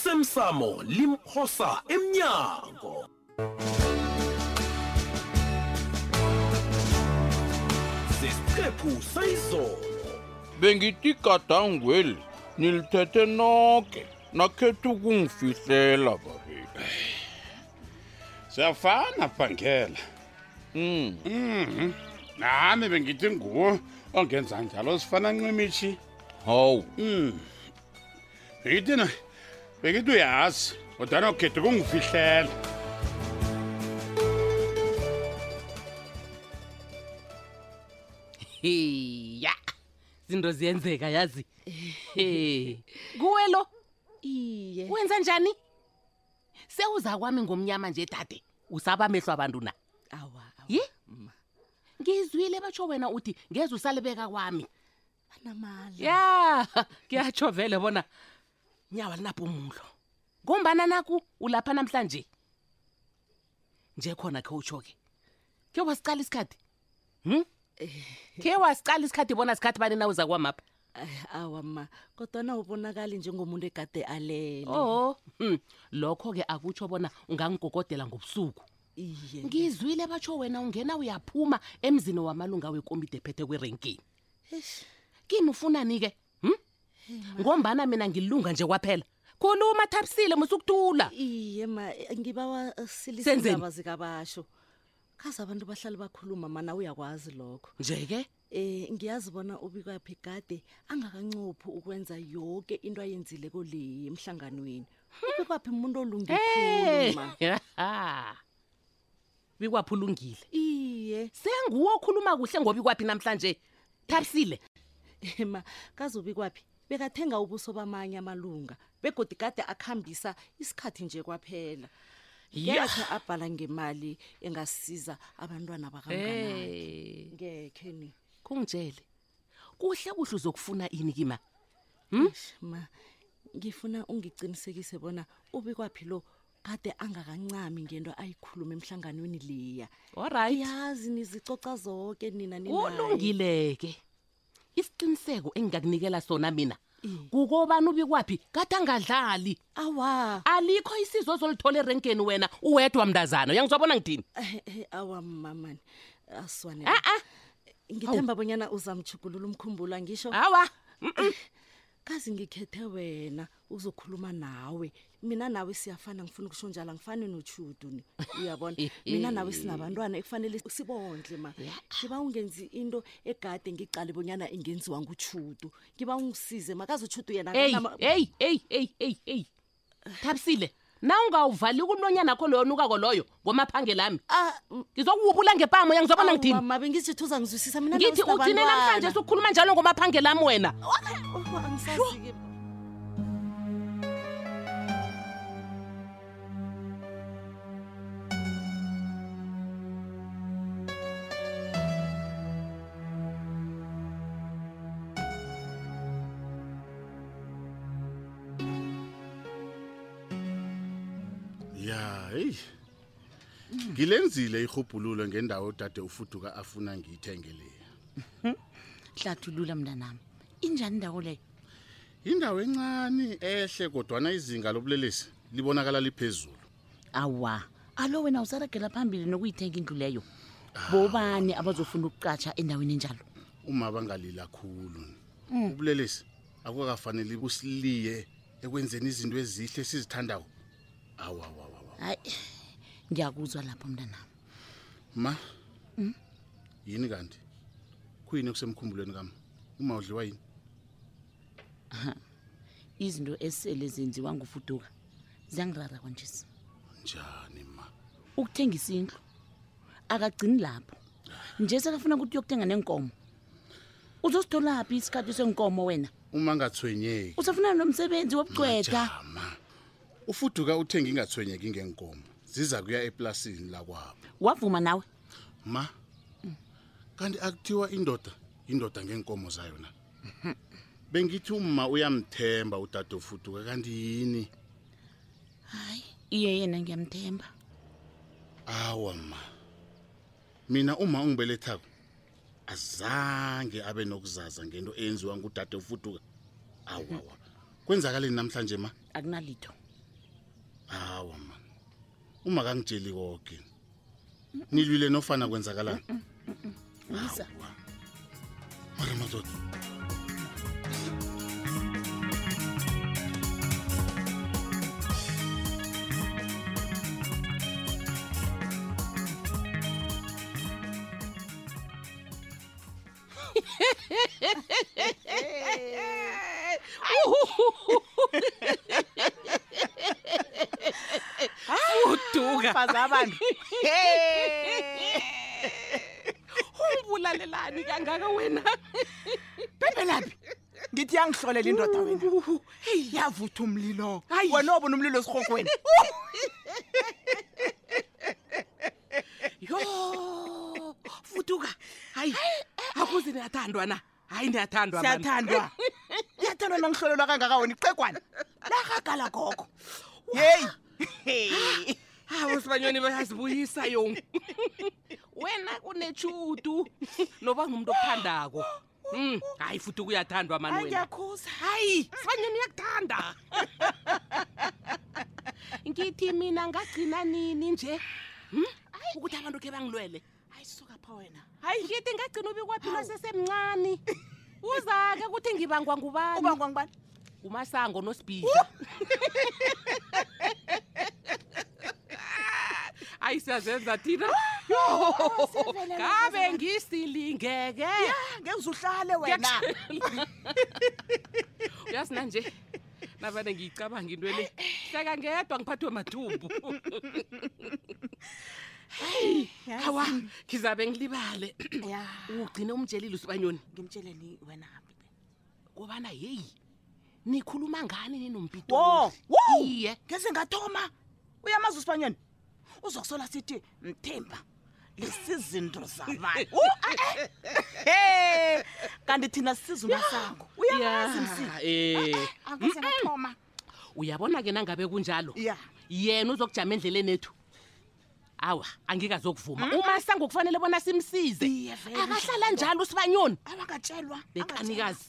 osemsamo limphosa emnyango sesiqephu sayizolo bengitigadangweli nilithethe noke nakhetha ukungifihlela babethu siyafana phangela mm. Mhm. nami bengithi nguwo ongenza njalo sifana ncimishi hawu bengithi na bengithi uyazi kodwana ukhethe kungifihlela heya zinto ziyenzeka yazi he kuwe lo iye wenza njani sewuza kwami ngomnyama nje dade usaba mehlo abantu na awa awa, Mm. yi ngizwile batsho wena uthi ngeze usalibeka kwami banamala ya kuyatsho vele bona nyawa linapumulo ngombana naku ulapha namhlanje nje khona khe utsho ke khe wasicala isikhathi hm khe wasicala isikhathi bona sikhathi bani na uza kwamapha Ay, awa ma kodwana ubonakali njengomuntu egade alele Oh, hm, lokho-ke akutsho bona ungangigogodela ngobusuku iye ngizwile batsho wena ungena uyaphuma emzini wamalunga wekomide ephethe kwerenkini Eish, kimi ufunani-ke hm? ngombana mina ngilunga nje kwaphela khuluma thabisile musukuthula iye ma ngibawa Senzeni. silisindaba zikabasho khaze abantu bahlale bakhuluma mana uyakwazi lokho nje-ke um ngiyazi bona ubikwaphi gade angakancophi ukwenza yonke into ayenzile koleyi emhlanganweni ubikwaphi umuntu Hey! olungekhuluma Haha. bikwaphulungile iye senguwo okhuluma kuhle ngoba ikwaphi namhlanje thabisile Eh, ma kazobi kwaphi bekathenga ubuso bamanye amalunga begodi kade akhambisa isikhathi nje kwaphela Yah! ngekhe abhala ngemali engasiza abantwana bakamnganakhe Eh, ngekhe ni kungitshele kuhle kuhle uzokufuna ini kima Eish, ma ngifuna ungicinisekise bona ubi kwaphi lo kade angakancami ngento ayikhuluma emhlanganweni leya olright yazi nizicoca zonke nina ninaye. kulungile-ke isiqiniseko engingakunikela sona mina Iye. kukobani ubi kwaphi kade angadlali awa alikho isizo ozolithola erenkeni wena uwedwa mntazana uyangizwa bona ngithini Eh, eh, awa mamani aswane a-a ngithemba bonyana uzamchugulula umkhumbulo angisho awa kazi ngikhethe wena uzokhuluma nawe mina nawe siyafana ngifuna ukusho njalo angifani nochudu ni uyabona mina nawe sinabantwana ekufanele sibondle ma ngiba ungenzi into egade ngicale bonyana ingenziwa nguchudu ngiba ungisize makazi uchudu yena eyi akanama- eyi eyi eyi eyi eyi thabisile na ungawuvali kumlonyana akho loyo nukako loyo ngomaphangela ami Ah, mm, ngizokuwubula ngepamo uyangizwa bona awu, ngithini mama bengizithi uzangizwisisa mina ngithi ugcine namhlanje sukhuluma njalo ngomaphangela ami wena angisazi-ke ya eyi ngilenzile irhubhululo ngendawo dade ufuduka afuna ngiyithengeleyo hlathulula mntanami injani indawo leyo yindawo encane ehle kodwana izinga lobulelesi libonakala liphezulu awa alo wena usaragela phambili nokuyithenga indlu leyo bobani abazofuna ukuqatsha endaweni enjalo Mm. uma bangalila khulu ubulelesi akukakafanele busiliye ekwenzeni izinto ezihle sizithandawo awawawawa hayi ngiyakuzwa lapho mntanami Hmm? ma yini kanti kuyini okusemkhumbulweni kami uma udliwa yini izinto esele zenziwa ngufuduka ziyangirara kwanjesi njani ma ukuthengisa indlu akagcini lapho nje sekafuna ukuthi uyokuthenga nenkomo uzositholaphi isikhathi senkomo wena uma ngathwenyeki usafuna nomsebenzi wobucweda jama ufuduka uthenga ingathwenyeki ngenkomo ziza kuya eplasini lakwabo wavuma nawe ma Hmm. kanti akuthiwa indoda indoda ngenkomo zayo na Mhm. bengithi uma uyamthemba udade ufuduka kanti yini hayi iye yena ngiyamthemba awa ma mina uma ungibelethako azange abe nokuzaza ngento eyenziwa ngudade ufuduka awawa kwenzakaleni namhlanje ma akunalitho hawa man uma kangitsheli konke nilwile nofana kwenzakalani lisa mara madoda uduka fazi abantu umbulalelani kangaka wena bebelaphi ngithi yangihlolela indoda wena yavutha umlilo Hayi. wena obona umlilo esirhokweni yo futuka hayi akuze niyathandwa na hayi niyathandwa man. siyathandwa iyathandwa nangihlolelwa kangaka wena ixegwana laragala gogo Ah, yeyi Hey. hawu sibanyoni bayazibuyisa yo wena kunechudu noba ngumntu okuthandako um hayi futhi kuyathandwa mani hayi wena ngiyakhuza hayi sibanyoni uyakuthanda ngithi mina ngagcina nini nje Hmm? ukuthi abantu khe bangilwele hayi suka pha wena hayi ngithi ngagcina ubikwaphilo sesemncane uza-ke ukuthi ngibangwa ngubani ubangwa ngibani umasango nosibhidla ayi siyazenza thina ngabe ngisilingeke ngeke Ah, uhlale wena uyazina nje navane ngiyicabanga into le hleka ngedwa ngiphathwe mathumbu awa ngizabe ngilibale ya ugcine umtshelile usibanyoni ngimtsheleni wena habibe kobana yeyi nikhuluma ngani ninompito wo wo iye ngeze ngathoma uyamazi usibanyeni uzokusola sithi mthemba lesizinto zabantu Oh, ah, eh. Hey, kanti thina sizuma sango uyamazi msi eh angeze ngathoma uyabona ke nangabe kunjalo ya yena uzokujama endleleni ethu awa angikazokuvuma uma sangokufanele bona simsize Iye, vele akahlala njalo usibanyoni abangatshelwa bekanikazi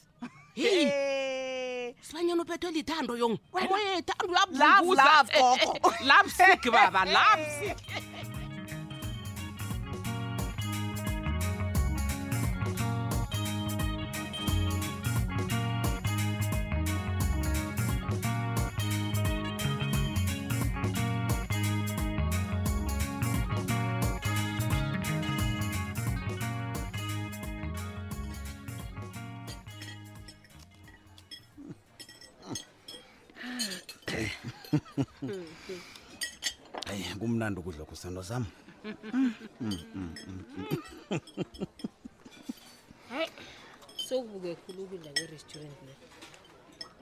heyi sibanyoni uphethwe lithando yong moyethando Love, love, gogo. lapsik baba laps eyi kumnandi ukudla kusando sam sokubuke khulu ukudla kwe-restaurant le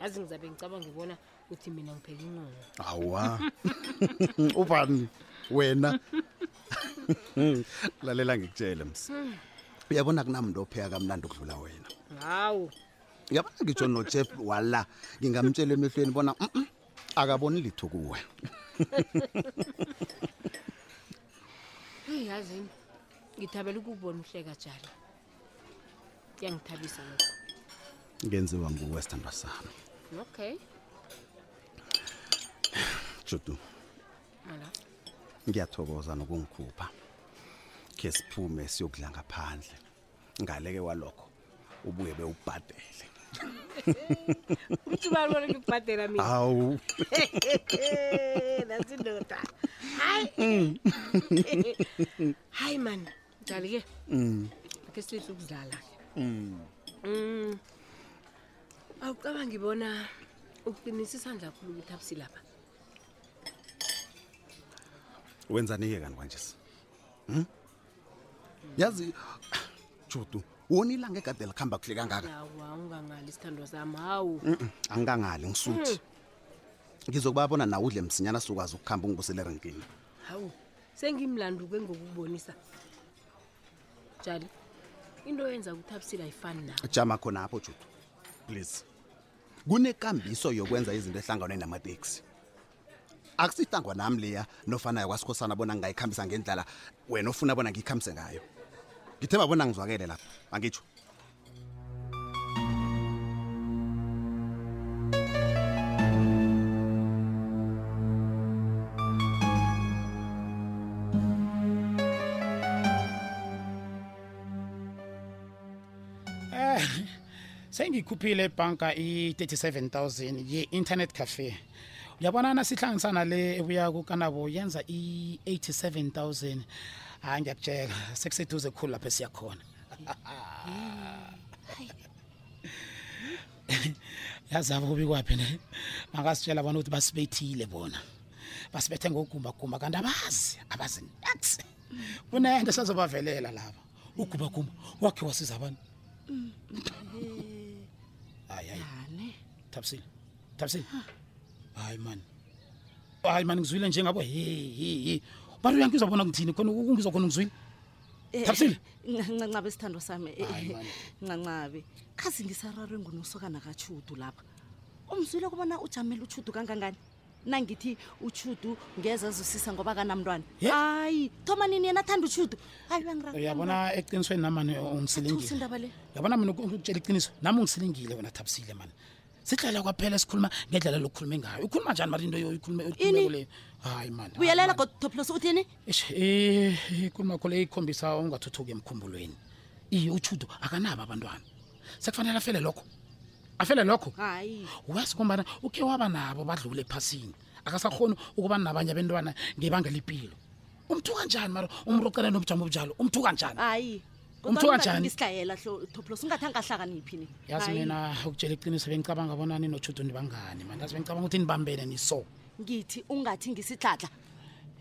yazi ngizabe ngicabanga ngibona ukuthi mina ngipheka inqono awa ubani wena lalela ngikutshele ms Hmm. uyabona kunamntu opheka kamnandi ukudlula wena hawu uyabona ngitsho nojef wala ngingamtshela emehlweni bona "Mm-mm, akaboni litho kuwe eyi yazini ngithabela ukubona uhleka jalo kuyangithabisa lokho ngenziwa nguwe sithandwa sami okay judu mala ngiyathokoza nokungikhupha khe siphume siyokudla ngaphandle ngaleke walokho ubuye bewubhadele uthi balibona ngikubhadela mina hawu nasindoda hayi hayi mani njali ke akhe sihle ukudlala ke Mm. awucaba ngibona uqinisa isandla khulu ukuthi abusilapha wenzani-ke kanti kanje Hmm? yazi judu wona ilanga egade likuhamba kuhle kangaka awa ungangali isithando sami hawu Mm-mm, angikangali ngisuthi ngizokubabona nawe udle msinyana sokwazi ukuhamba ungibusele erenkini hawu sengimlanduke ngokubonisa jali into yenza ukuthi abusile ayifani nawe jama khona apho judu please kunekambiso yokwenza izinto ehlangane namateksi akusitangwa nami leya nofana yakwasikhosana bona ngingayikhambisa ngendlela wena ofuna bona ngiyikhambise ngayo ngithemba bona ngizwakele lapho angitsho Eh, sengikhuphile ebhanka i-37 000 ye-internet cafe uyabona nasihlanganisana le ebuya kukanabo yenza i-87 000 hayi ngiyakutshela Ah, sekuseduze kukhulu lapho esiyakhona yazi abo kubi kwaphi ne bangasitshela bona ukuthi basibethile bona basibethe ngogumbagumba kanti abazi abazi nathi kunento sazobavelela laba ugumbagumba wakhe wasiza abantu hayi hayi thabisile thabisile hayi mani hayi mani ngizwile njengabo hehehe bantu uyankizwa bona ngithini khona ukungizwa khona ngizwile thabisile Eh, ncancabe isithando sami eh, Hayi, man. ncancabe khazi ngisararwe ngunosokana katshudu lapha umzwile kubona ujamele utshudu kangangani nangithi utshudu ngeze azusisa ngoba kanamntwana Ye. hayi thoma nini yena athanda utshudu hayi uyabona eqinisweni namani ungisilingile indaba le yabona mina ukutshela iqiniso nami ungisilingile wena thabisile mani sihlala kwaphela sikhuluma ngendlela lokukhulume ngayo ukhuluma njani mari into Ini? oyikhulumeoyikhulumekoleyo hayi mani hayi, buyelela mani. godtoplos uthini Eish, eh, ikhuluma kho le ikhombisa ungathuthuki emkhumbulweni iye utshudo akanabo abantwana sekufanele afele lokho afele lokho hayi wesikhombana ukhe waba nabo badlule ephasini akasakhoni ukuba nabanye abentwana ngebanga lempilo umthuka njani mara umntu ocela nobujamo obunjalo umthuka njani hayi Umthuka njani? isihlayela hlo toplos ungathi angahlakaniphi ni yazi Hayi, mina ukutshela iqiniso bengicabanga bona ninotshudo nibangani mani yazi bengicabanga ukuthi nibambene niso ngithi ungathi ngisidladla